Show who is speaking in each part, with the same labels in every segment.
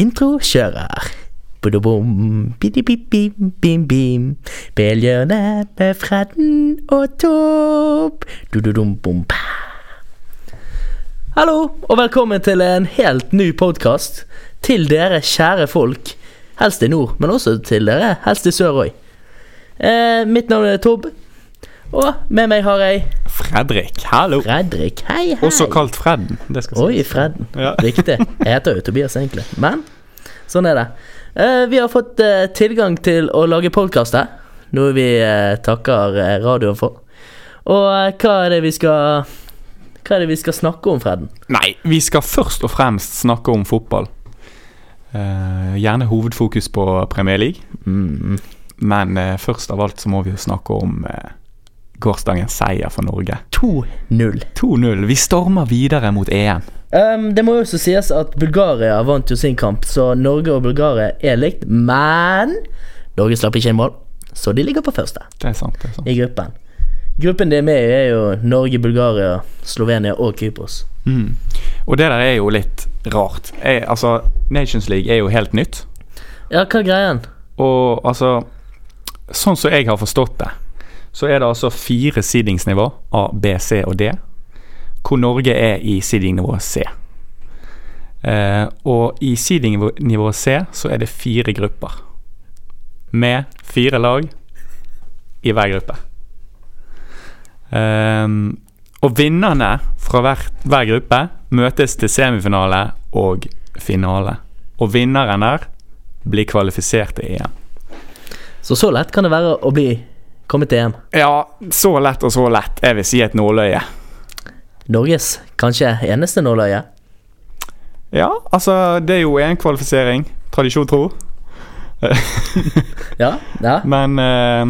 Speaker 1: Intro kjører. Budobom, bidi-bim, bim-bim. Belgjørne med Fredden og Topp. Du-du-dum-bom-pa. Hallo, og velkommen til en helt ny podkast. Til dere kjære folk. Helst i nord, men også til dere helst i sør òg. Eh, mitt navn er Tobb, og med meg har jeg
Speaker 2: Fredrik, hallo.
Speaker 1: Fredrik. Hei, hei.
Speaker 2: Også kalt Fredden. Det skal
Speaker 1: Oi,
Speaker 2: sies.
Speaker 1: Fredden.
Speaker 2: Ja.
Speaker 1: Riktig. Jeg heter jo Tobias, egentlig. Men sånn er det. Eh, vi har fått eh, tilgang til å lage podkast her, noe vi eh, takker eh, radioen for. Og eh, hva er det vi skal Hva er det vi skal snakke om, Fredden?
Speaker 2: Nei, vi skal først og fremst snakke om fotball. Eh, gjerne hovedfokus på Premier League,
Speaker 1: Mm.
Speaker 2: men eh, først av alt så må vi jo snakke om eh, gårsdagens seier for Norge.
Speaker 1: 2-0.
Speaker 2: 2-0. Vi stormer videre mot EM.
Speaker 1: Ehm, det må jo også sies at Bulgaria vant jo sin kamp, så Norge og Bulgaria er likt. Men Norge slapp ikke inn mål, så de ligger på første.
Speaker 2: Det er sant. det er sant.
Speaker 1: i gruppen. Gruppen de er med i, er jo Norge, Bulgaria, Slovenia og Kypros.
Speaker 2: Mm. Og det der er jo litt rart. Jeg, altså, Nations League er jo helt nytt.
Speaker 1: Ja, hva er greien?
Speaker 2: Og altså Sånn som jeg har forstått det, så er det altså fire seedingsnivå. A, B, C og D. Hvor Norge er i seedingnivå C. Eh, og i seedingnivå C så er det fire grupper. Med fire lag i hver gruppe. Ehm, og vinnerne fra hver, hver gruppe møtes til semifinale og finale. Og vinneren der blir kvalifisert til EM.
Speaker 1: Så så lett kan det være å bli kommet til EM.
Speaker 2: Ja, så lett og så lett. Jeg vil si et nåløye.
Speaker 1: Norges kanskje eneste nåløye.
Speaker 2: Ja, altså, det er jo en kvalifisering, tradisjon tro.
Speaker 1: Ja, ja.
Speaker 2: Men eh,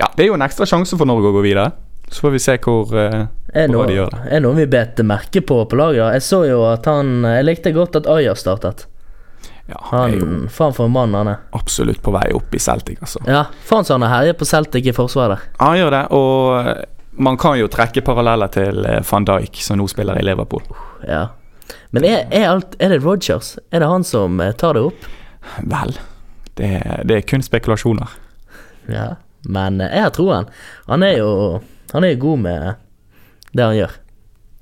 Speaker 2: ja, det er jo en ekstra sjanse for Norge å gå videre. Så får vi se hvor eh,
Speaker 1: Er
Speaker 2: bra
Speaker 1: noe,
Speaker 2: de gjør det.
Speaker 1: er noe vi bet merke på på laget. da. Jeg så jo at han Jeg likte godt at Aja startet.
Speaker 2: Ja, han er jo
Speaker 1: Han, Faen for en mann han er.
Speaker 2: absolutt på vei opp i Celtic, altså.
Speaker 1: Ja, faen så han har herjet på Celtic i forsvaret der.
Speaker 2: Han gjør det, og man kan jo trekke paralleller til eh, van Dijk, som nå spiller i Liverpool.
Speaker 1: Ja. Men er, er, alt, er det Rogers? Er det han som eh, tar det opp?
Speaker 2: Vel, det, det er kun spekulasjoner.
Speaker 1: Ja, men eh, jeg har troen. Han er jo Han er jo god med det han gjør.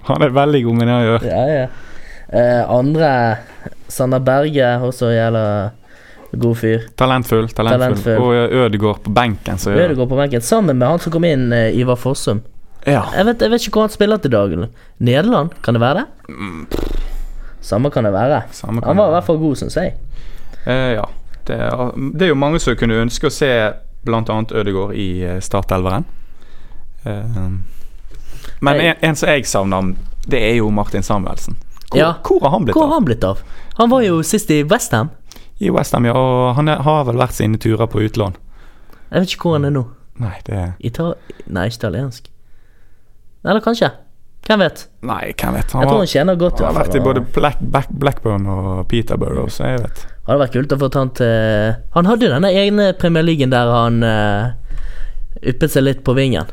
Speaker 2: Han er veldig god med det han gjør.
Speaker 1: Ja, ja. Eh, andre Sander Berge, også jævla god fyr.
Speaker 2: Talentfull, talentfull.
Speaker 1: Talentfull.
Speaker 2: Og eh, Ødegaard på benken, så
Speaker 1: Ja.
Speaker 2: gjør det.
Speaker 1: Ødegaard på benken, sammen med han som kom inn, eh, Ivar Fossum.
Speaker 2: Ja.
Speaker 1: Jeg vet, jeg vet ikke hvor han spiller til dagen. Nederland, kan det være det? Samme kan det være.
Speaker 2: Mm. Samme kan
Speaker 1: Han var i
Speaker 2: det
Speaker 1: hvert fall god, syns jeg.
Speaker 2: Eh, ja. Det er, det er jo mange som kunne ønske å se bl.a. Ødegaard i eh, Startelveren. Eh, men
Speaker 1: Nei.
Speaker 2: en, en som jeg savner, det er jo Martin Samuelsen. Hvor,
Speaker 1: Ja.
Speaker 2: hvor har han blitt
Speaker 1: Hvor har
Speaker 2: av?
Speaker 1: han blitt av? Han var jo sist i Westham.
Speaker 2: I Westham, ja. Og han er, har vel vært sine turer på utlån.
Speaker 1: Jeg vet ikke hvor han er nå.
Speaker 2: Nei, det
Speaker 1: Ita Nei, ikke italiensk. Eller kanskje. Hvem vet?
Speaker 2: Nei, hvem vet. Han,
Speaker 1: Jeg tror
Speaker 2: var,
Speaker 1: han tjener godt. i
Speaker 2: han har
Speaker 1: hvert
Speaker 2: vært
Speaker 1: fall.
Speaker 2: i både Black, Black, Blackburn og Peterborough, så jeg vet.
Speaker 1: Hadde vært kult å få han til Han hadde jo denne egne Premier League der han eh, yppet seg litt på vingen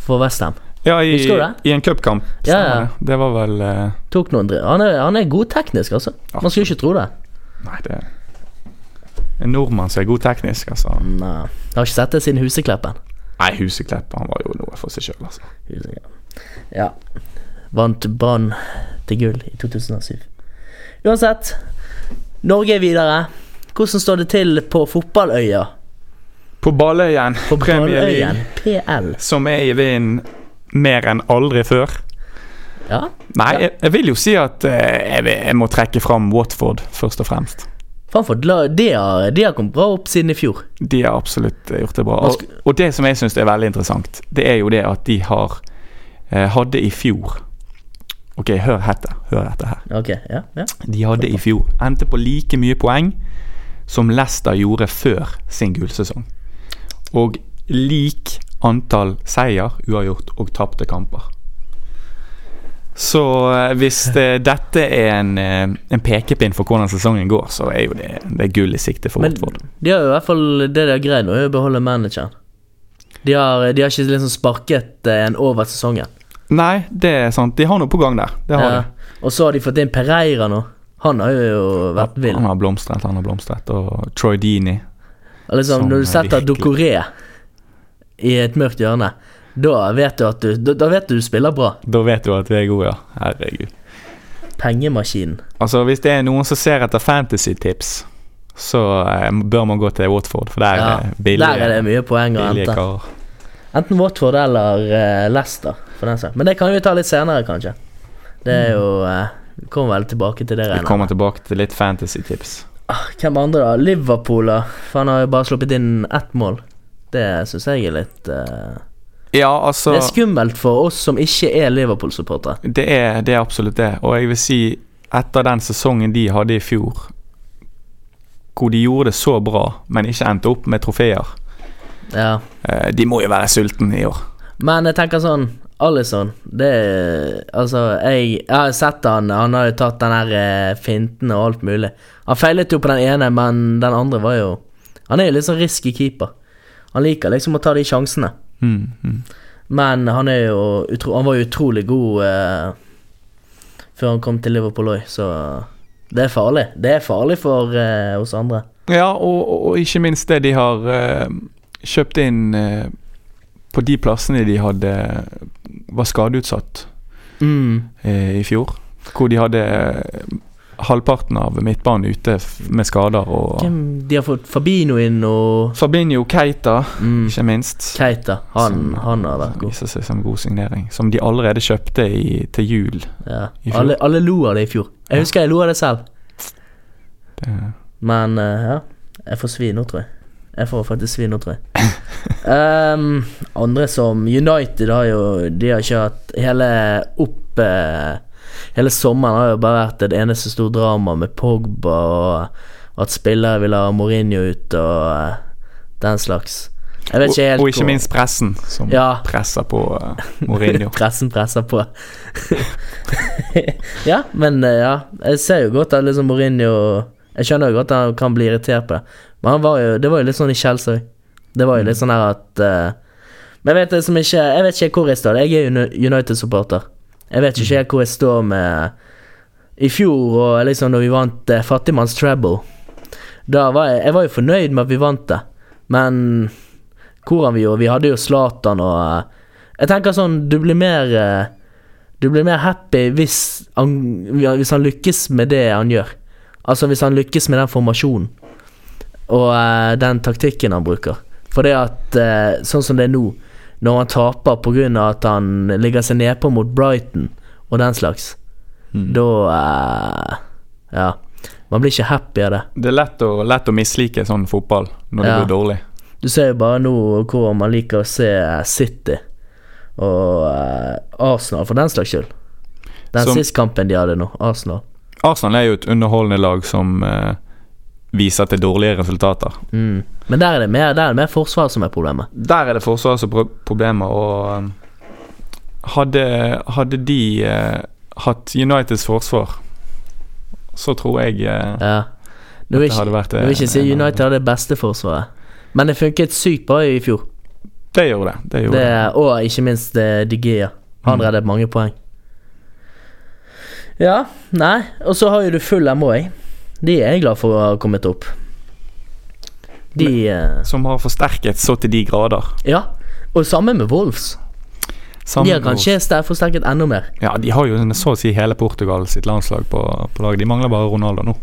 Speaker 1: for Westham.
Speaker 2: Ja, i,
Speaker 1: Husker du det?
Speaker 2: i en cupkamp.
Speaker 1: Ja,
Speaker 2: stemmer
Speaker 1: ja.
Speaker 2: det. Det var vel eh,
Speaker 1: Tok noen dri- han, er- han er god teknisk, altså. Man skulle ikke tro det.
Speaker 2: Nei, det En nordmann som er god teknisk, altså.
Speaker 1: Nei. Jeg har ikke sett det siden Husekleppen.
Speaker 2: Nei, Huseklepp, han var jo noe for seg sjøl, altså.
Speaker 1: Husekleppen. Ja. Vant Brann til gull i 2007. Uansett, Norge er videre. Hvordan står det til på fotballøya?
Speaker 2: På Balløyen,
Speaker 1: På
Speaker 2: Premier
Speaker 1: Balløyen
Speaker 2: League,
Speaker 1: PL.
Speaker 2: som er i vinden mer enn aldri før.
Speaker 1: Ja.
Speaker 2: Nei, jeg, jeg vil jo si at eh, jeg, vil- jeg må trekke fram Watford, først og fremst.
Speaker 1: Faen for gla- de har, de har kommet bra opp siden i fjor.
Speaker 2: De har absolutt eh, gjort det bra.
Speaker 1: Man
Speaker 2: Og, og det som jeg syns er veldig interessant, det er jo det at de har eh, hadde i fjor Ok, hør dette. Hør dette her.
Speaker 1: Ok, ja, ja.
Speaker 2: De hadde i fjor endte på like mye poeng som Leicester gjorde før sin gulsesong. Og lik antall seier, uavgjort og tapte kamper. Så eh, hvis eh, dette er en, eh, en pekepinn for hvordan sesongen går, så er jo det, det er gull i sikte for
Speaker 1: Men
Speaker 2: Watford.
Speaker 1: de har jo i hvert fall det de har greid nå, er å beholde manageren. De har, de har ikke liksom sparket eh, en over sesongen.
Speaker 2: Nei, det er sant. De har noe på gang der. Det har
Speaker 1: Ja.
Speaker 2: de.
Speaker 1: Og så har de fått inn Pereira nå. Han har jo vært vill.
Speaker 2: Han har blomstret, han har blomstret. Og Troy Dini.
Speaker 1: Og Liksom,
Speaker 2: Som
Speaker 1: når du setter
Speaker 2: Sånn virkelig-
Speaker 1: Dokoré i et mørkt hjørne, da vet du at du, da, da vet du du spiller bra.
Speaker 2: Da vet du at vi er gode, ja. Herregud.
Speaker 1: Pengemaskinen.
Speaker 2: Altså, hvis det er noen som ser etter fantasy-tips, så eh, bør man gå til Watford, for der
Speaker 1: Ja,
Speaker 2: er billige,
Speaker 1: Der er det mye poeng å
Speaker 2: billige
Speaker 1: hente.
Speaker 2: karer.
Speaker 1: Enten Watford eller eh, Leicester, for den saks Men det kan vi ta litt senere, kanskje. Det er jo eh, Vi kommer vel tilbake til det,
Speaker 2: Vi
Speaker 1: regner jeg med.
Speaker 2: kommer tilbake til litt fantasy-tips.
Speaker 1: Ah, Hvem andre, da? Liverpool, da. For han har jo bare sluppet inn ett mål. Det syns jeg er litt eh,
Speaker 2: Ja, altså
Speaker 1: Det er skummelt for oss som ikke er Liverpool-supportere.
Speaker 2: Det er, det er absolutt det. Og jeg vil si, etter den sesongen de hadde i fjor, hvor de gjorde det så bra, men ikke endte opp med trofeer
Speaker 1: Ja.
Speaker 2: eh, De må jo være sultne i år.
Speaker 1: Men jeg tenker sånn Alison, det er- Altså, jeg, jeg har sett han Han har jo tatt den her eh, finten og alt mulig. Han feilet jo på den ene, men den andre var jo Han er jo litt sånn risky keeper. Han liker liksom å ta de sjansene.
Speaker 2: Mm, mm.
Speaker 1: Men han er jo utro, Han var jo utrolig god eh, før han kom til Liverpool òg, så det er farlig. Det er farlig for eh, oss andre.
Speaker 2: Ja, og, og- og ikke minst det de har eh, kjøpt inn eh, på de plassene de hadde var skadeutsatt eh, i fjor. Hvor de hadde eh, halvparten av midtbanen ute f med skader og
Speaker 1: Hvem, de har fått Fabino inn og
Speaker 2: Fabinho Keita,
Speaker 1: mm,
Speaker 2: ikke minst.
Speaker 1: Keita. Han,
Speaker 2: Som-
Speaker 1: han har vært
Speaker 2: som
Speaker 1: god.
Speaker 2: Viser seg som god signering. Som de allerede kjøpte i, til jul.
Speaker 1: Ja.
Speaker 2: I fjor.
Speaker 1: Alle, alle lo av det i fjor. Jeg
Speaker 2: Ja.
Speaker 1: husker jeg lo av det selv.
Speaker 2: Det,
Speaker 1: Men eh, ja, jeg får svi nå, tror jeg. Jeg får faktisk svi nå, tror jeg. Ehm, andre som United har jo De har ikke hatt hele opp eh, Hele sommeren har jo bare vært et eneste stort drama med Pogba og at spillere vil ha Mourinho ut og eh, den slags. Jeg vet
Speaker 2: og,
Speaker 1: ikke helt
Speaker 2: og ikke
Speaker 1: hvor-
Speaker 2: minst pressen, som
Speaker 1: Ja.
Speaker 2: presser på eh, Mourinho.
Speaker 1: Pressen presser på. ja, men eh, ja. Jeg ser jo godt at liksom Mourinho Jeg skjønner jo godt at han kan bli irritert på det. Men han var jo, det var jo litt sånn i Chelsea òg. Det var jo litt sånn her at eh, Men jeg vet liksom ikke Jeg vet ikke hvor jeg står. Jeg er jo Uni- United-supporter. Jeg vet ikke helt hvor jeg står med I fjor og liksom når vi vant eh, Fattigmanns Treble Da var jeg Jeg var jo fornøyd med at vi vant det, men hvordan vi gjorde Vi hadde jo Zlatan og eh, jeg tenker sånn, du blir mer eh, Du blir mer happy hvis han, ja, hvis han lykkes med det han gjør. Altså hvis han lykkes med den formasjonen og eh, den taktikken han bruker. For det at eh, sånn som det er nå, når han taper pga. at han ligger seg nedpå mot Brighton og den slags,
Speaker 2: Mm.
Speaker 1: da eh, Ja. Man blir ikke happy av det.
Speaker 2: Det er lett å, lett å mislike sånn fotball når det
Speaker 1: Ja.
Speaker 2: går dårlig.
Speaker 1: Du ser jo bare nå hvor man liker å se City og eh, Arsenal, for den slags skyld. Den
Speaker 2: Som-
Speaker 1: siste kampen de hadde nå, Arsenal.
Speaker 2: Arsenal er jo et underholdende lag som eh, viser til dårlige resultater.
Speaker 1: Mm. Men der er, det mer, der er det mer forsvar som er problemet.
Speaker 2: Der er det forsvaret som har problemer, og eh, hadde, hadde de eh, hatt Uniteds forsvar, så tror jeg eh,
Speaker 1: Ja. Du vil
Speaker 2: det
Speaker 1: ikke,
Speaker 2: hadde vært
Speaker 1: du
Speaker 2: eh,
Speaker 1: vil ikke si
Speaker 2: en-
Speaker 1: United hadde det beste forsvaret, men det funket sykt bra i fjor.
Speaker 2: Det gjorde det. det, gjorde
Speaker 1: Det,
Speaker 2: det.
Speaker 1: og ikke minst eh, De Gea. Han
Speaker 2: Mm.
Speaker 1: reddet mange poeng. Ja, nei, og så har jo du full MOA. De er jeg glad for å ha kommet opp. De eh,
Speaker 2: Som har forsterket så til de grader.
Speaker 1: Ja, og samme med Wolves.
Speaker 2: Sammen
Speaker 1: de har
Speaker 2: med
Speaker 1: kanskje sterkt forsterket enda mer.
Speaker 2: oss. Ja, De har jo så å si hele Portugal sitt landslag på, på lag. De mangler bare Ronaldo nå.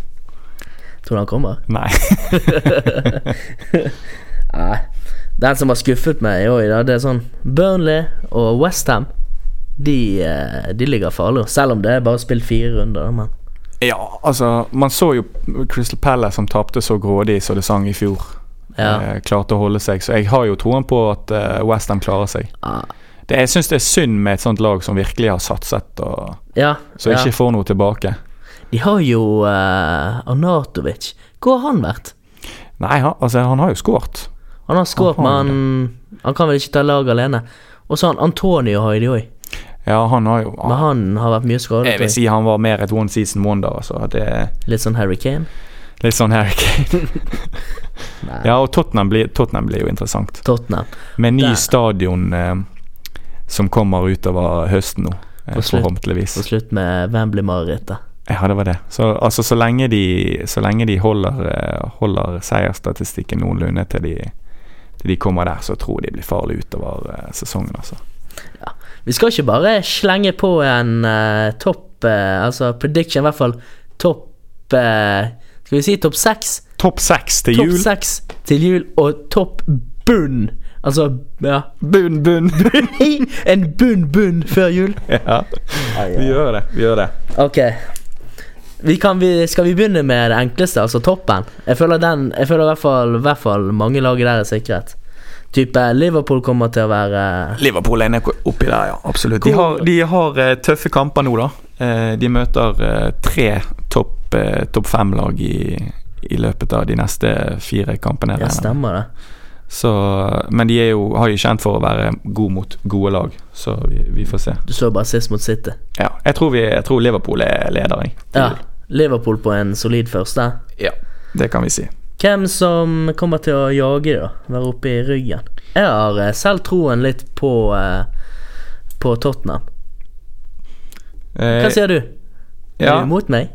Speaker 1: Tror du han kommer?
Speaker 2: Nei.
Speaker 1: Nei. Den som har skuffet meg i år, da, det er sånn Burnley og Westham. De, eh, de ligger farlig, selv om det er bare spilt fire runder. da, Men
Speaker 2: Ja, altså Man så jo Crystal Palace som tapte så grådig så det sang i fjor.
Speaker 1: ja.
Speaker 2: Eh, klarte å holde seg, så jeg har jo troen på at eh, West Ham klarer seg.
Speaker 1: Ah,
Speaker 2: Det, jeg syns det er synd med et sånt lag som virkelig har satset, og
Speaker 1: ja,
Speaker 2: så
Speaker 1: ja.
Speaker 2: ikke får noe tilbake.
Speaker 1: De har jo eh, Arnatovic. Hvor har han vært?
Speaker 2: Nei, han, altså, han har jo skåret.
Speaker 1: Han har skåret,
Speaker 2: Han
Speaker 1: men
Speaker 2: har
Speaker 1: han, han kan vel ikke ta lag alene. Og så har han Antonio har jo de òg,
Speaker 2: Ja, han har jo
Speaker 1: men han har vært mye skadet.
Speaker 2: Ah. Jeg
Speaker 1: tror
Speaker 2: vil
Speaker 1: jeg.
Speaker 2: si han var mer et one season wonder, altså. Det er
Speaker 1: Litt sånn Harry Kane.
Speaker 2: litt sånn Harry Kane.
Speaker 1: Nei.
Speaker 2: Ja, og Tottenham blir, Tottenham blir jo interessant.
Speaker 1: Tottenham.
Speaker 2: Med ny
Speaker 1: Der.
Speaker 2: stadion eh, som kommer utover høsten nå, eh,
Speaker 1: På slutt.
Speaker 2: forhåpentligvis.
Speaker 1: Og slutt med Hvem blir marerittet?
Speaker 2: Ja, det var det. Så, altså, så lenge de, så lenge de holder, eh, holder seiersstatistikken noenlunde til de, til de kommer der, så tror jeg de blir farlige utover eh, sesongen, altså.
Speaker 1: Vi skal ikke bare slenge på en eh, topp eh, Altså prediction, i hvert fall topp eh, Skal vi si topp seks?
Speaker 2: Topp seks til
Speaker 1: Topp
Speaker 2: jul.
Speaker 1: seks til jul og topp bunn. Altså, ja
Speaker 2: Bunn, bunn, bunn.
Speaker 1: En bunn, bunn før jul.
Speaker 2: ja. Vi gjør det. Vi gjør det.
Speaker 1: Ok. Vi kan, vi, skal vi begynne med det enkleste, altså toppen? Jeg føler, den, jeg føler i, hvert fall, i hvert fall mange lag der er sikret. Type Liverpool kommer til å være
Speaker 2: Liverpool er nede oppi der, ja. Absolutt. De har, de har eh, tøffe kamper nå, da. Eh, De møter eh, tre topp eh, topp fem-lag i, i løpet av de neste fire kampene.
Speaker 1: Ja,
Speaker 2: regner jeg med.
Speaker 1: stemmer det.
Speaker 2: Så, men de er jo, har jo kjent for å være gode mot gode lag, så vi, vi får se.
Speaker 1: Du så bare sist mot City.
Speaker 2: Ja, jeg tror, vi, jeg tror Liverpool er leder, jeg.
Speaker 1: Ja, Liverpool på en solid første.
Speaker 2: Ja, Det kan vi si.
Speaker 1: Hvem som kommer til å jage, da? Være oppe i ryggen? Jeg har eh, selv troen litt på eh, På Tottenham. Hva
Speaker 2: Eh,
Speaker 1: sier du? Er
Speaker 2: ja.
Speaker 1: du mot meg?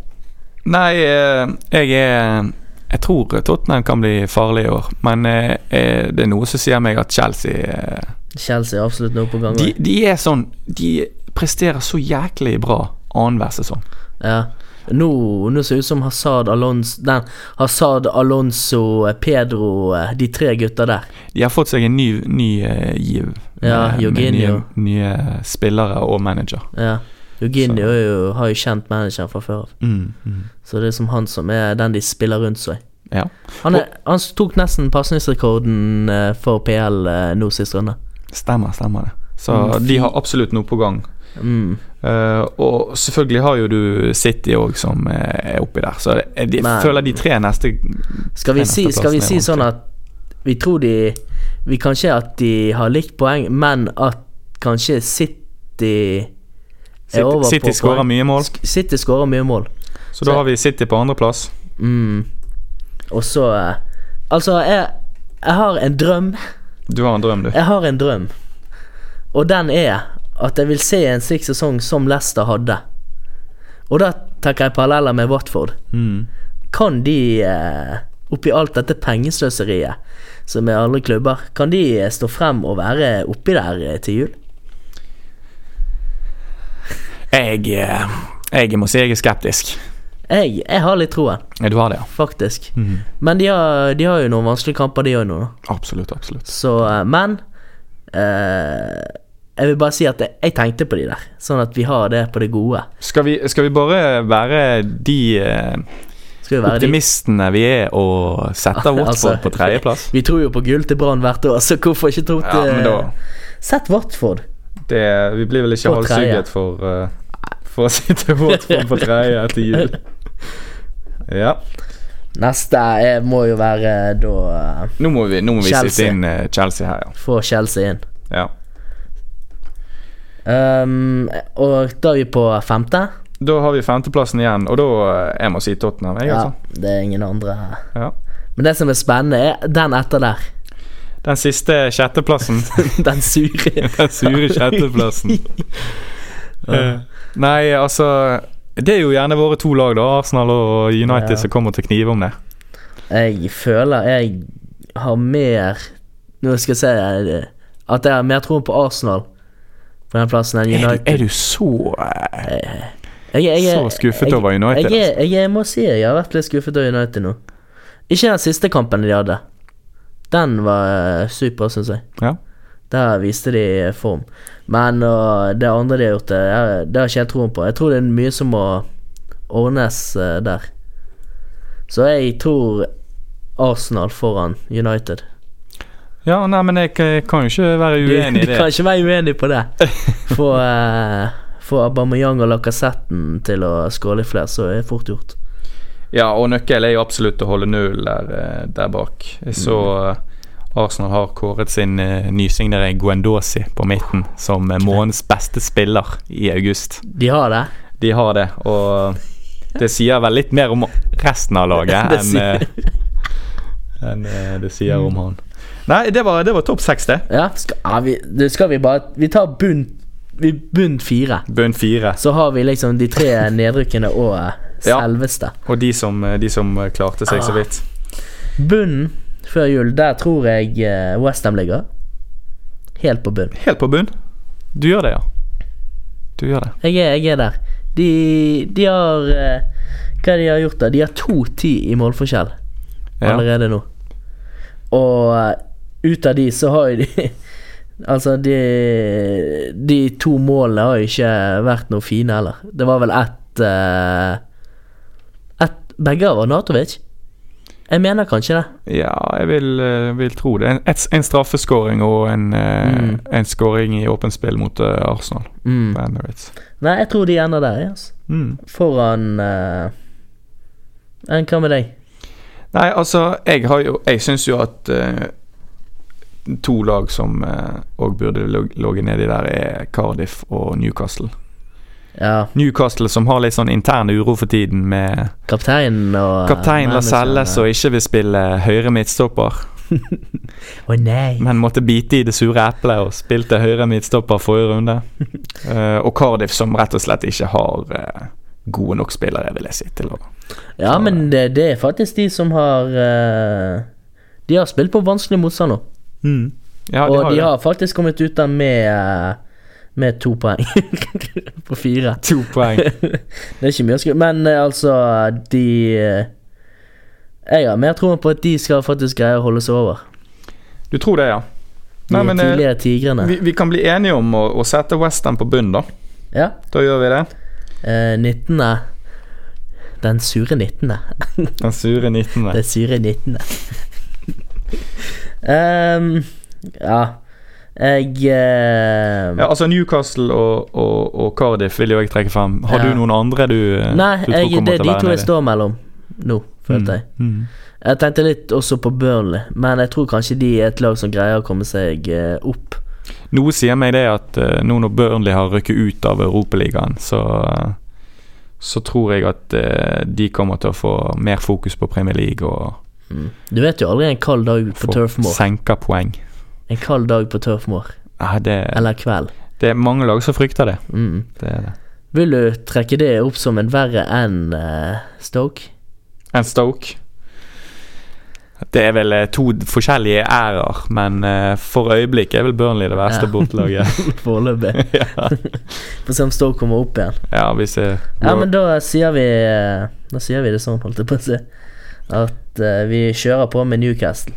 Speaker 2: Nei, eh, jeg er Jeg tror Tottenham kan bli farlig i år, men eh, eh, det er noe som sier meg at Chelsea eh,
Speaker 1: Chelsea er absolutt nå på gang.
Speaker 2: De, de er sånn De presterer så jæklig bra annenhver sesong.
Speaker 1: Ja. Nå, nå ser det ut som Hazard Alonso Den Hazard Alonso, eh, Pedro, eh, de tre gutta der.
Speaker 2: De har fått seg en ny, ny eh, giv.
Speaker 1: Ja,
Speaker 2: med- med nye,
Speaker 1: Jorginho.
Speaker 2: nye spillere og manager.
Speaker 1: Ja. Eugenio er jo, har jo kjent manageren fra før av,
Speaker 2: Mm, mm.
Speaker 1: så det er som han som er den de spiller rundt seg.
Speaker 2: Ja.
Speaker 1: Han, er, han tok nesten pasningsrekorden eh, for PL eh, nå sist runde.
Speaker 2: Stemmer, stemmer det. Så de har absolutt noe på gang.
Speaker 1: Mm.
Speaker 2: Eh, og selvfølgelig har jo du City òg, som eh, er oppi der. Så jeg de,
Speaker 1: Men-
Speaker 2: føler de tre neste
Speaker 1: Skal vi
Speaker 2: Den
Speaker 1: si, skal vi
Speaker 2: nesteplassen
Speaker 1: si
Speaker 2: er
Speaker 1: sånn at vi tror de Vi Kanskje at de har likt poeng, men at kanskje City er over
Speaker 2: City,
Speaker 1: på
Speaker 2: City skårer
Speaker 1: poeng.
Speaker 2: mye mål,
Speaker 1: Sk- City skårer mye mål.
Speaker 2: så da har vi City på andreplass.
Speaker 1: Mm. Og så eh, Altså, jeg, jeg har en drøm.
Speaker 2: Du har en drøm, du.
Speaker 1: Jeg har en drøm. Og den er at jeg vil se en slik sesong som Leicester hadde. Og da tenker jeg paralleller med Watford.
Speaker 2: Mm.
Speaker 1: Kan de, eh, oppi alt dette pengesløseriet som er alle klubber, kan de eh, stå frem og være oppi der eh, til jul?
Speaker 2: Jeg, eh, jeg må si jeg er skeptisk.
Speaker 1: Jeg, jeg har litt troen,
Speaker 2: Ja, Du har det, ja.
Speaker 1: faktisk. Men de har, de har jo noen vanskelige kamper, de òg nå. da.
Speaker 2: Absolutt, absolutt.
Speaker 1: Så, eh, men eh, Jeg vil bare si at jeg, jeg tenkte på de der, sånn at vi har det på det gode.
Speaker 2: Skal vi, skal vi bare være de eh,
Speaker 1: Skal vi være de?
Speaker 2: optimistene vi er og sette Watford
Speaker 1: Altså,
Speaker 2: på tredjeplass?
Speaker 1: Vi tror jo på gull til Brann hvert år, så hvorfor ikke tro
Speaker 2: Ja,
Speaker 1: til
Speaker 2: men da
Speaker 1: Sett Watford.
Speaker 2: det, Vi blir vel ikke
Speaker 1: På
Speaker 2: halshugget for, eh, for å sitte Watford på tredje etter jul. Ja.
Speaker 1: Neste er, må jo være da eh,
Speaker 2: Nå må vi, nå må vi
Speaker 1: Chelsea.
Speaker 2: sitte inn eh, Chelsea her,
Speaker 1: få Chelsea inn.
Speaker 2: ja. ja.
Speaker 1: Um, og da er vi på femte.
Speaker 2: Da har vi femteplassen igjen, og da eh, Jeg må si Tottenham, jeg,
Speaker 1: Ja,
Speaker 2: altså.
Speaker 1: det er ingen andre
Speaker 2: Ja.
Speaker 1: Men det som er spennende, er den etter der.
Speaker 2: Den siste sjetteplassen.
Speaker 1: Den sure.
Speaker 2: Den sure sjetteplassen. Eh, Nei, altså Det er jo gjerne våre to lag, da. Arsenal og United,
Speaker 1: Ja.
Speaker 2: som kommer til å knive om det.
Speaker 1: Jeg føler jeg har mer Nå skal jeg si eh, at jeg har mer tro på Arsenal på den plassen enn
Speaker 2: Er du,
Speaker 1: United.
Speaker 2: er du så eh,
Speaker 1: Jeg, jeg,
Speaker 2: så skuffet over United, altså.
Speaker 1: Jeg, jeg, jeg, jeg må si jeg har vært litt skuffet over United nå. Ikke den siste kampen de hadde. Den var eh, super, syns jeg.
Speaker 2: Ja.
Speaker 1: Der viste de form. Men og det andre de har gjort, det, er- det har ikke jeg troen på. Jeg tror det er mye som må ordnes eh, der. Så jeg tror Arsenal foran United.
Speaker 2: ja, nei, men jeg k- kan jo ikke være
Speaker 1: Du,
Speaker 2: uenig i
Speaker 1: du
Speaker 2: det.
Speaker 1: kan ikke være uenig på det. Få, eh, få Aubameyang og Lacassette til å skåre litt flere, så er det fort gjort.
Speaker 2: Ja, og nøkkelen er jo absolutt å holde null der, eh, der bak. Jeg så
Speaker 1: Mm.
Speaker 2: eh, Arsenal har kåret sin eh, nysignere Guendouzi på midten som eh, månedens beste spiller i august.
Speaker 1: De har det.
Speaker 2: De har det, og det sier vel litt mer om resten av laget
Speaker 1: Det
Speaker 2: enn eh, enn eh, det sier
Speaker 1: Mm.
Speaker 2: om han. Nei, det var, det var topp seks, det.
Speaker 1: Ja, skal, ja, vi, du, skal vi bare Vi tar bunn i bunn fire
Speaker 2: Bunn fire.
Speaker 1: så har vi liksom de tre nedrykkene og eh,
Speaker 2: Ja.
Speaker 1: selveste.
Speaker 2: Og de som, eh, de som klarte seg
Speaker 1: Ah.
Speaker 2: så vidt.
Speaker 1: Bunnen før jul, der tror jeg Westham ligger. Helt på bunn.
Speaker 2: Helt på bunn. Du gjør det, ja. Du gjør det.
Speaker 1: Jeg er, jeg er der. De, de har eh, Hva de har gjort, da? De har 2-10 i målforskjell
Speaker 2: Ja.
Speaker 1: allerede nå. Og eh, ut av de så har jo de Altså, de, de to målene har jo ikke vært noe fine heller. Det var vel ett eh, ett- Begge var Natovic? Jeg mener kanskje det.
Speaker 2: Ja, jeg vil, eh, vil tro det. En, et, en straffeskåring og en, eh,
Speaker 1: Mm.
Speaker 2: en skåring i åpent spill mot eh, Arsenal.
Speaker 1: Mm.
Speaker 2: På Emirates.
Speaker 1: Nei, jeg tror de ender der. ja, Altså.
Speaker 2: Mm.
Speaker 1: Foran eh, enn Hva med deg?
Speaker 2: Nei, altså, jeg har jo Jeg syns jo at eh, to lag som òg burde log- ligge nedi der, er Cardiff og Newcastle.
Speaker 1: Ja,
Speaker 2: Newcastle som har litt sånn intern uro for tiden med
Speaker 1: kapteinen og eh,
Speaker 2: kaptein Lascelle
Speaker 1: manageren,
Speaker 2: som ikke vil spille høyre midtstopper,
Speaker 1: Å nei!
Speaker 2: men måtte bite i det sure eplet og spilte høyre midtstopper forrige runde. Eh, og Cardiff som rett og slett ikke har eh, gode nok spillere, vil jeg si, til å
Speaker 1: Ja,
Speaker 2: eh,
Speaker 1: men det, det er faktisk de som har eh, De har spilt på vanskelig motstand nå.
Speaker 2: Mm. Ja, de
Speaker 1: og
Speaker 2: har
Speaker 1: de
Speaker 2: jo
Speaker 1: har faktisk kommet ut der med eh, Med to poeng på fire.
Speaker 2: to poeng.
Speaker 1: Det er ikke mye å skrive Men eh, altså, de eh, Jeg har mer troen på at de skal faktisk greie å holde seg over.
Speaker 2: Du tror det, ja?
Speaker 1: De
Speaker 2: Nei, men eh,
Speaker 1: tidligere tigrene.
Speaker 2: vi, vi kan bli enige om å, å sette Western på bunn, da.
Speaker 1: Ja.
Speaker 2: Da gjør vi det.
Speaker 1: Eh, 19. Den sure 19.
Speaker 2: Den sure 19.
Speaker 1: Den sure 19. Ehm, ja. Jeg eh,
Speaker 2: Ja, altså Newcastle og, og, og Cardiff vil jo jeg trekke frem. Har
Speaker 1: Ja.
Speaker 2: du noen andre du, eh,
Speaker 1: Nei,
Speaker 2: du
Speaker 1: jeg, det er de to jeg
Speaker 2: nedi?
Speaker 1: står mellom nå, følte jeg.
Speaker 2: Mm.
Speaker 1: Jeg tenkte litt også på Burnley, men jeg tror kanskje de er et lag som greier å komme seg eh, opp.
Speaker 2: Noe sier meg det at eh, nå når Burnley har rykket ut av Europaligaen, så eh, så tror jeg at eh, de kommer til å få mer fokus på Premier League og
Speaker 1: Mm. Du vet jo aldri en kald dag på
Speaker 2: få
Speaker 1: Turfmore.
Speaker 2: senka poeng.
Speaker 1: En kald dag på Turfmore,
Speaker 2: Nei, det,
Speaker 1: eller kveld.
Speaker 2: det er mange lag som frykter det.
Speaker 1: Mm.
Speaker 2: det, er det.
Speaker 1: Vil du trekke det opp som en verre enn eh, Stoke?
Speaker 2: enn Stoke. Det er vel eh, to forskjellige ærer, men eh, for øyeblikket er vel Burnley det verste
Speaker 1: Ja.
Speaker 2: bortelaget.
Speaker 1: Foreløpig.
Speaker 2: ja.
Speaker 1: Få se om Stoke kommer opp igjen.
Speaker 2: ja, hvis jeg,
Speaker 1: Ja, men da sier vi Da sier vi det sånn, holdt jeg på å si. At eh, vi kjører på med Newcastle.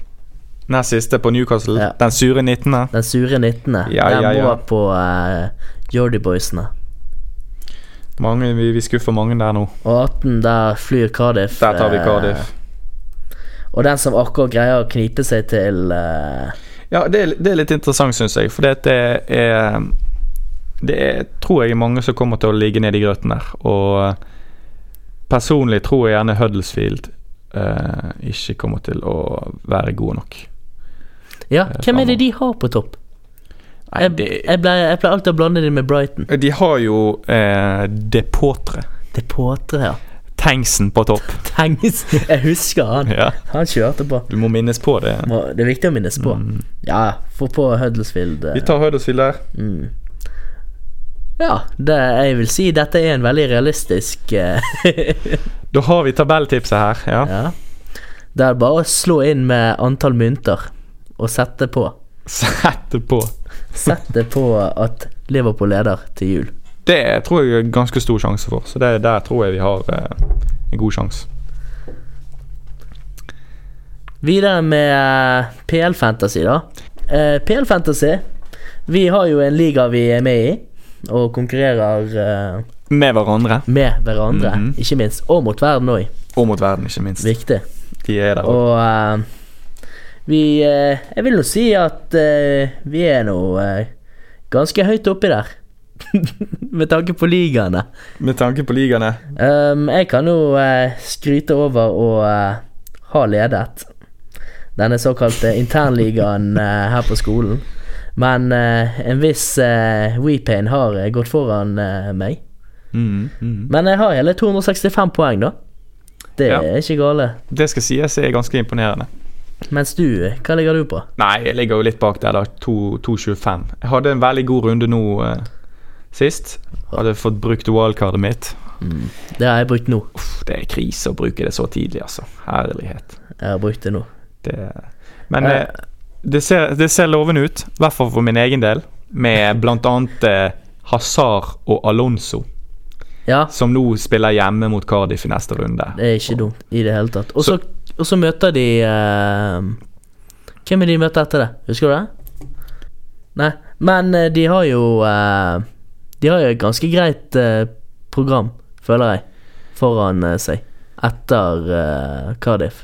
Speaker 2: Nest siste på Newcastle,
Speaker 1: Ja.
Speaker 2: den sure 19.
Speaker 1: Den sure 19.
Speaker 2: Ja,
Speaker 1: Den
Speaker 2: ja, ja.
Speaker 1: må på uh, Jordy Boysene.
Speaker 2: Mange, vi, vi skuffer mange der nå.
Speaker 1: Og 18, der flyr Cardiff.
Speaker 2: Der tar vi
Speaker 1: eh,
Speaker 2: Cardiff.
Speaker 1: og den som akkurat greier å knipe seg til eh,
Speaker 2: Ja, det er, det er litt interessant, syns jeg, for det er Det er, tror jeg er mange som kommer til å ligge nede i grøten der, og personlig tror jeg gjerne Huddlesfield eh, ikke kommer til å være gode nok.
Speaker 1: Ja, hvem er
Speaker 2: fremover.
Speaker 1: det de har på topp?
Speaker 2: Nei,
Speaker 1: Jeg,
Speaker 2: det-
Speaker 1: jeg, ble, jeg ble alltid å blande dem med Brighton.
Speaker 2: De har jo eh, Depotre.
Speaker 1: Det påtre, ja.
Speaker 2: Tengsen på topp.
Speaker 1: Tengs. Jeg husker han.
Speaker 2: Ja.
Speaker 1: Han kjørte på.
Speaker 2: Du må minnes på det.
Speaker 1: Må, det er viktig å minnes på. Ja, få på Huddlesfield. eh,
Speaker 2: Mm. Vi tar Huddersfield der.
Speaker 1: Mm. Ja, det, jeg vil si dette er en veldig realistisk eh,
Speaker 2: Da har vi tabelltipset her. Ja.
Speaker 1: ja. Det er bare å slå inn med antall mynter og sette på.
Speaker 2: Sette på.
Speaker 1: Sette på at Liverpool leder til jul.
Speaker 2: Det tror jeg er ganske stor sjanse for, så det, der tror jeg vi har eh, en god sjanse.
Speaker 1: Videre med eh, PL Fantasy, da. Eh, PL Fantasy Vi har jo en liga vi er med i, og konkurrerer eh,
Speaker 2: Med hverandre.
Speaker 1: med hverandre,
Speaker 2: Mhm.
Speaker 1: ikke minst. Og mot verden òg.
Speaker 2: Og mot verden, ikke minst.
Speaker 1: Viktig.
Speaker 2: De er der.
Speaker 1: Og eh, vi eh, Jeg vil jo si at eh, vi er nå eh, ganske høyt oppi der. Med tanke på ligaene.
Speaker 2: Med tanke på ligaene.
Speaker 1: Um, jeg kan jo eh, skryte over å eh, ha ledet denne såkalte internligaen eh, her på skolen. Men eh, en viss eh, WePain har eh, gått foran eh, meg.
Speaker 2: Mm, mm.
Speaker 1: Men jeg har hele 265 poeng, da. Det
Speaker 2: Ja.
Speaker 1: er ikke gale.
Speaker 2: Det skal sies er ganske imponerende.
Speaker 1: Mens du, hva ligger du på?
Speaker 2: Nei, jeg ligger jo litt bak der, da. To- 2,25. Jeg hadde en veldig god runde nå eh, sist. Hadde fått brukt wildcardet mitt.
Speaker 1: Mm. Det har jeg brukt nå.
Speaker 2: Uff, det er krise å bruke det så tidlig, altså. Herlighet.
Speaker 1: Jeg har brukt det nå.
Speaker 2: Det, men
Speaker 1: Eh.
Speaker 2: eh, det, ser, det ser lovende ut, i hvert fall for min egen del, med bl.a. Eh, Hazar og Alonso,
Speaker 1: Ja,
Speaker 2: som nå spiller hjemme mot Cardiff i neste runde.
Speaker 1: det er ikke dumt i det hele tatt. Og så og så møter de eh, Hvem er de møter etter det? Husker du det? Nei, men eh, de har jo eh, De har jo et ganske greit eh, program, føler jeg, foran eh, seg. Etter eh, Cardiff.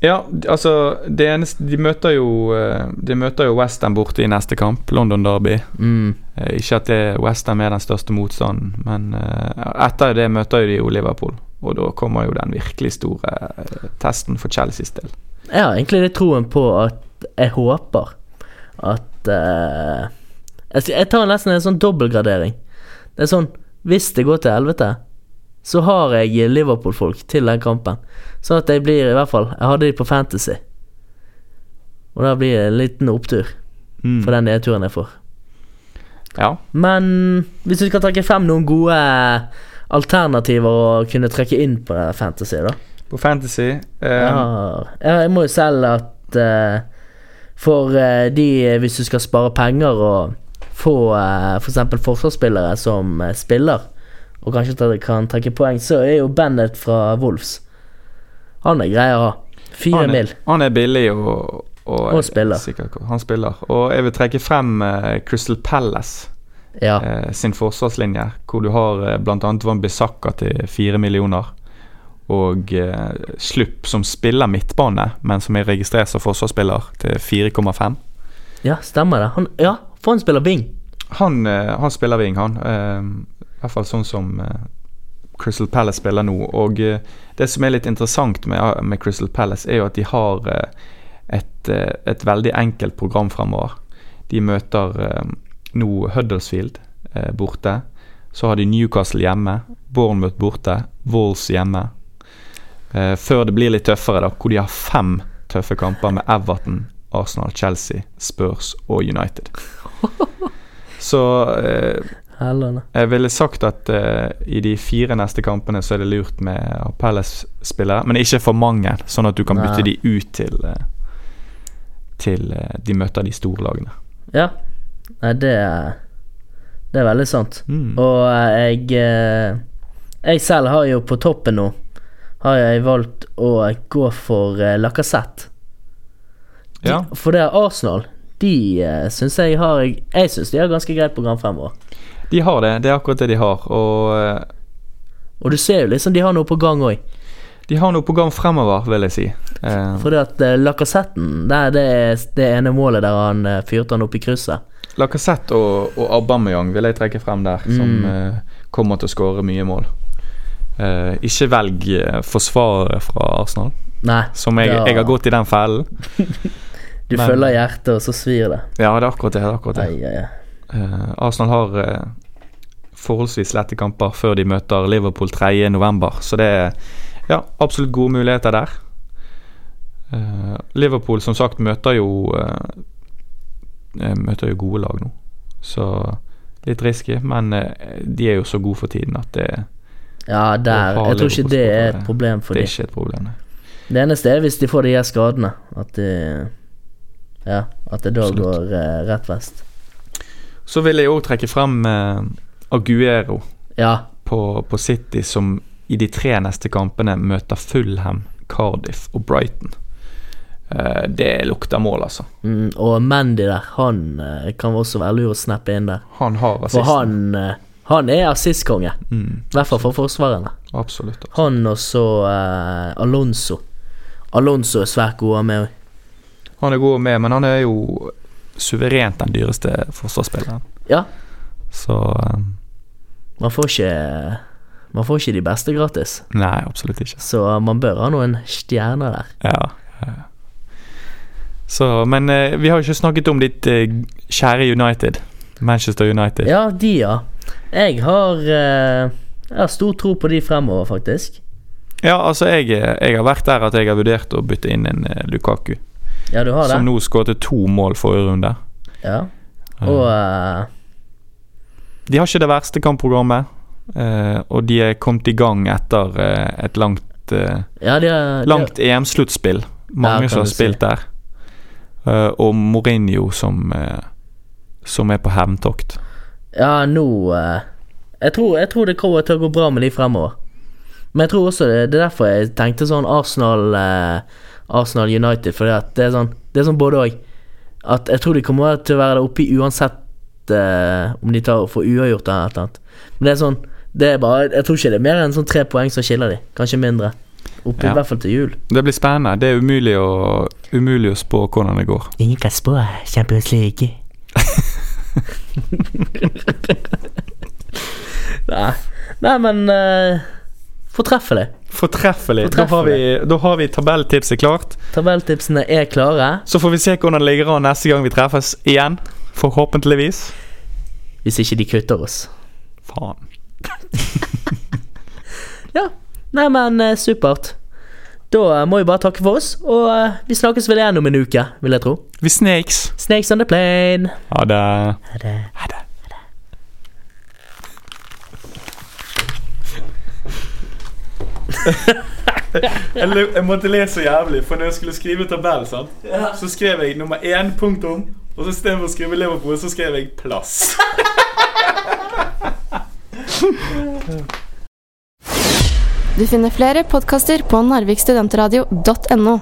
Speaker 2: Ja, d- altså det eneste, De møter jo eh, De møter jo Westham borte i neste kamp, London Derby.
Speaker 1: Mm.
Speaker 2: Eh, Ikke at det- Westham er den største motstanden, men eh, etter det møter jo de jo Liverpool. Og da kommer jo den virkelig store eh, testen for Chelseas del.
Speaker 1: Jeg har egentlig litt troen på at Jeg håper at eh, jeg, skal- jeg tar nesten en sånn dobbeltgradering. Det er sånn Hvis det går til helvete, så har jeg Liverpool-folk til den kampen. Sånn at jeg blir i hvert fall Jeg hadde de på Fantasy. Og da blir det en liten opptur
Speaker 2: Mm.
Speaker 1: for den nedturen jeg får.
Speaker 2: Ja.
Speaker 1: Men hvis du skal trekke frem noen gode eh, alternativer å kunne trekke inn på Fantasy, da
Speaker 2: På Fantasy eh,
Speaker 1: ja, ja, jeg må jo selv at eh, for eh, de Hvis du skal spare penger og få eh, for f.eks. forsvarsspillere som eh, spiller, og kanskje tre- kan trekke poeng, så er jo Bennett fra Wolves Han er grei å ha. Fire
Speaker 2: han, er,
Speaker 1: mil.
Speaker 2: han er billig og, og,
Speaker 1: Og spiller.
Speaker 2: Sikkert, han spiller. Og jeg vil trekke frem eh, Crystal Palace
Speaker 1: Ja.
Speaker 2: eh, sin forsvarslinje, hvor du har eh, bl.a. Van Bissaka til fire millioner. Og eh, Slupp, som spiller midtbane, men som er registrert som forsvarsspiller, til 4,5.
Speaker 1: ja, stemmer det. Han, ja, for han spiller Bing.
Speaker 2: Han, eh, han spiller wing, han. Eh, I hvert fall sånn som eh, Crystal Palace spiller nå. Og eh, det som er litt interessant med, eh, med Crystal Palace, er jo at de har eh, et, eh, et veldig enkelt program fremover. De møter eh, nå Huddersfield eh, borte. Så har de Newcastle hjemme, Bournemouth borte, Wolls hjemme. Eh, før det blir litt tøffere, da, hvor de har fem tøffe kamper med Everton, Arsenal, Chelsea, Spurs og United. Så eh,
Speaker 1: Hellene.
Speaker 2: jeg ville sagt at eh, i de fire neste kampene så er det lurt med Palace-spillere, men ikke for mange, sånn at du kan
Speaker 1: Nei.
Speaker 2: bytte de ut til eh, Til eh, de møter de store lagene.
Speaker 1: Ja. Nei, det er, det er veldig sant.
Speaker 2: Mm.
Speaker 1: Og eh, jeg eh, Jeg selv har jo på toppen nå Har jeg valgt å gå for eh, Lacassette. De-
Speaker 2: Ja.
Speaker 1: For det er Arsenal. De eh, syns jeg har Jeg syns de har ganske greit program fremover.
Speaker 2: De har det, det er akkurat det de har. Og eh,
Speaker 1: Og du ser jo liksom de har noe på gang òg.
Speaker 2: de har noe program fremover, vil jeg si. Eh,
Speaker 1: Fordi at eh, Lacassetten, det er det, det ene målet der han eh, fyrte han opp i krysset.
Speaker 2: Lacassette og, og Aubameyang vil jeg trekke frem der, som
Speaker 1: Mm.
Speaker 2: eh, kommer til å skåre mye mål. Eh, ikke velg eh, forsvarere fra Arsenal,
Speaker 1: Nei,
Speaker 2: som jeg,
Speaker 1: Ja.
Speaker 2: jeg har gått i den fellen.
Speaker 1: du
Speaker 2: Men-
Speaker 1: følger hjertet, og så svir det.
Speaker 2: Ja, det er akkurat det. det, er akkurat det.
Speaker 1: Ai, ai, ai.
Speaker 2: Eh, Arsenal har eh, forholdsvis lette kamper før de møter Liverpool 3.11, så det er ja, absolutt gode muligheter der. Eh, Liverpool, som sagt, møter jo eh, eh, Møter jo gode lag nå, så litt risky, men eh, de er jo så gode for tiden at det,
Speaker 1: Ja, der.
Speaker 2: har
Speaker 1: Jeg tror ikke
Speaker 2: Liverpool
Speaker 1: det er
Speaker 2: skåret?
Speaker 1: et problem for
Speaker 2: det
Speaker 1: de.
Speaker 2: er ikke et problem. nei.
Speaker 1: Det eneste er hvis de får de her skadene. At de Ja, at det da
Speaker 2: Absolutt.
Speaker 1: går eh, rett vest.
Speaker 2: Så vil jeg òg trekke frem eh, Aguero
Speaker 1: Ja.
Speaker 2: på, på City, som i de tre neste kampene møter Fulham, Cardiff og Brighton. Eh, det lukter mål, altså.
Speaker 1: Mm, og Mandy der, han eh, kan også være lur å snappe inn der.
Speaker 2: Han har
Speaker 1: For
Speaker 2: assisten.
Speaker 1: han, eh, han er assistkonge.
Speaker 2: Mm,
Speaker 1: I hvert fall for forsvarerne.
Speaker 2: absolutt. altså.
Speaker 1: Han og så eh, Alonso. Alonso er svært god å ha med òg.
Speaker 2: Han er god med, men han er jo suverent den dyreste forsvarsspilleren.
Speaker 1: Ja,
Speaker 2: Så eh,
Speaker 1: man får ikke Man får ikke de beste gratis.
Speaker 2: Nei, absolutt ikke.
Speaker 1: Så man bør ha noen stjerner der.
Speaker 2: Ja. ja. Så, men eh, vi har jo ikke snakket om ditt eh, kjære United. Manchester United.
Speaker 1: Ja, de, ja. Jeg har, eh, jeg har stor tro på de fremover, faktisk.
Speaker 2: Ja, altså, jeg, jeg har vært der at jeg har vurdert å bytte inn en eh, Lukaku.
Speaker 1: Ja, du har det?
Speaker 2: Som nå skåret to mål forrige runde.
Speaker 1: Ja. Og eh,
Speaker 2: Eh, De har ikke det verste kampprogrammet, eh, og de er kommet i gang etter eh, et langt, eh,
Speaker 1: Ja, de har, de har
Speaker 2: langt EM-sluttspill.
Speaker 1: Ja,
Speaker 2: Mange
Speaker 1: kan
Speaker 2: som har
Speaker 1: du si.
Speaker 2: spilt der. Eh, og Mourinho som, eh, som er på hevntokt.
Speaker 1: Ja, nå eh, jeg, tror, jeg tror det kommer til å gå bra med de fremover. Men jeg tror også det, det er derfor jeg tenkte sånn Arsenal eh, Arsenal United, fordi at det er sånn Det er sånn både òg. At jeg tror de kommer til å være der oppe i uansett eh, om de tar og får uavgjort eller et eller annet. Men det er sånn det er bare, Jeg tror ikke det er mer enn sånn tre poeng som skiller de Kanskje mindre. Oppe i
Speaker 2: Ja.
Speaker 1: hvert fall til jul.
Speaker 2: Det blir spennende. Det er umulig å, umulig å spå hvordan det går.
Speaker 1: Ingen kan spå euh, Champions League. Nei. Nei, men uh, Fortreffelig.
Speaker 2: Fortreffelig. Da har,
Speaker 1: Fortreffelig.
Speaker 2: vi, da har vi tabelltipset klart.
Speaker 1: Tabelltipsene er klare.
Speaker 2: Så får vi se hvordan det ligger an neste gang vi treffes igjen. Forhåpentligvis.
Speaker 1: Hvis ikke de kutter oss.
Speaker 2: Faen.
Speaker 1: Ja. Nei, men eh, supert. Da eh, må vi bare takke for oss, og eh, vi snakkes vel igjen om en uke, vil jeg tro.
Speaker 2: Vi snakes.
Speaker 1: Snakes on the plane.
Speaker 2: Ha det.
Speaker 1: Ha det.
Speaker 2: Ha det. jeg, lø- jeg måtte le så jævlig, for når jeg skulle skrive tabell, sant? så skrev jeg nummer én punktum, og så istedenfor å skrive Liverpool, så skrev jeg plass.
Speaker 3: Du finner flere podkaster på narvikstudentradio.no.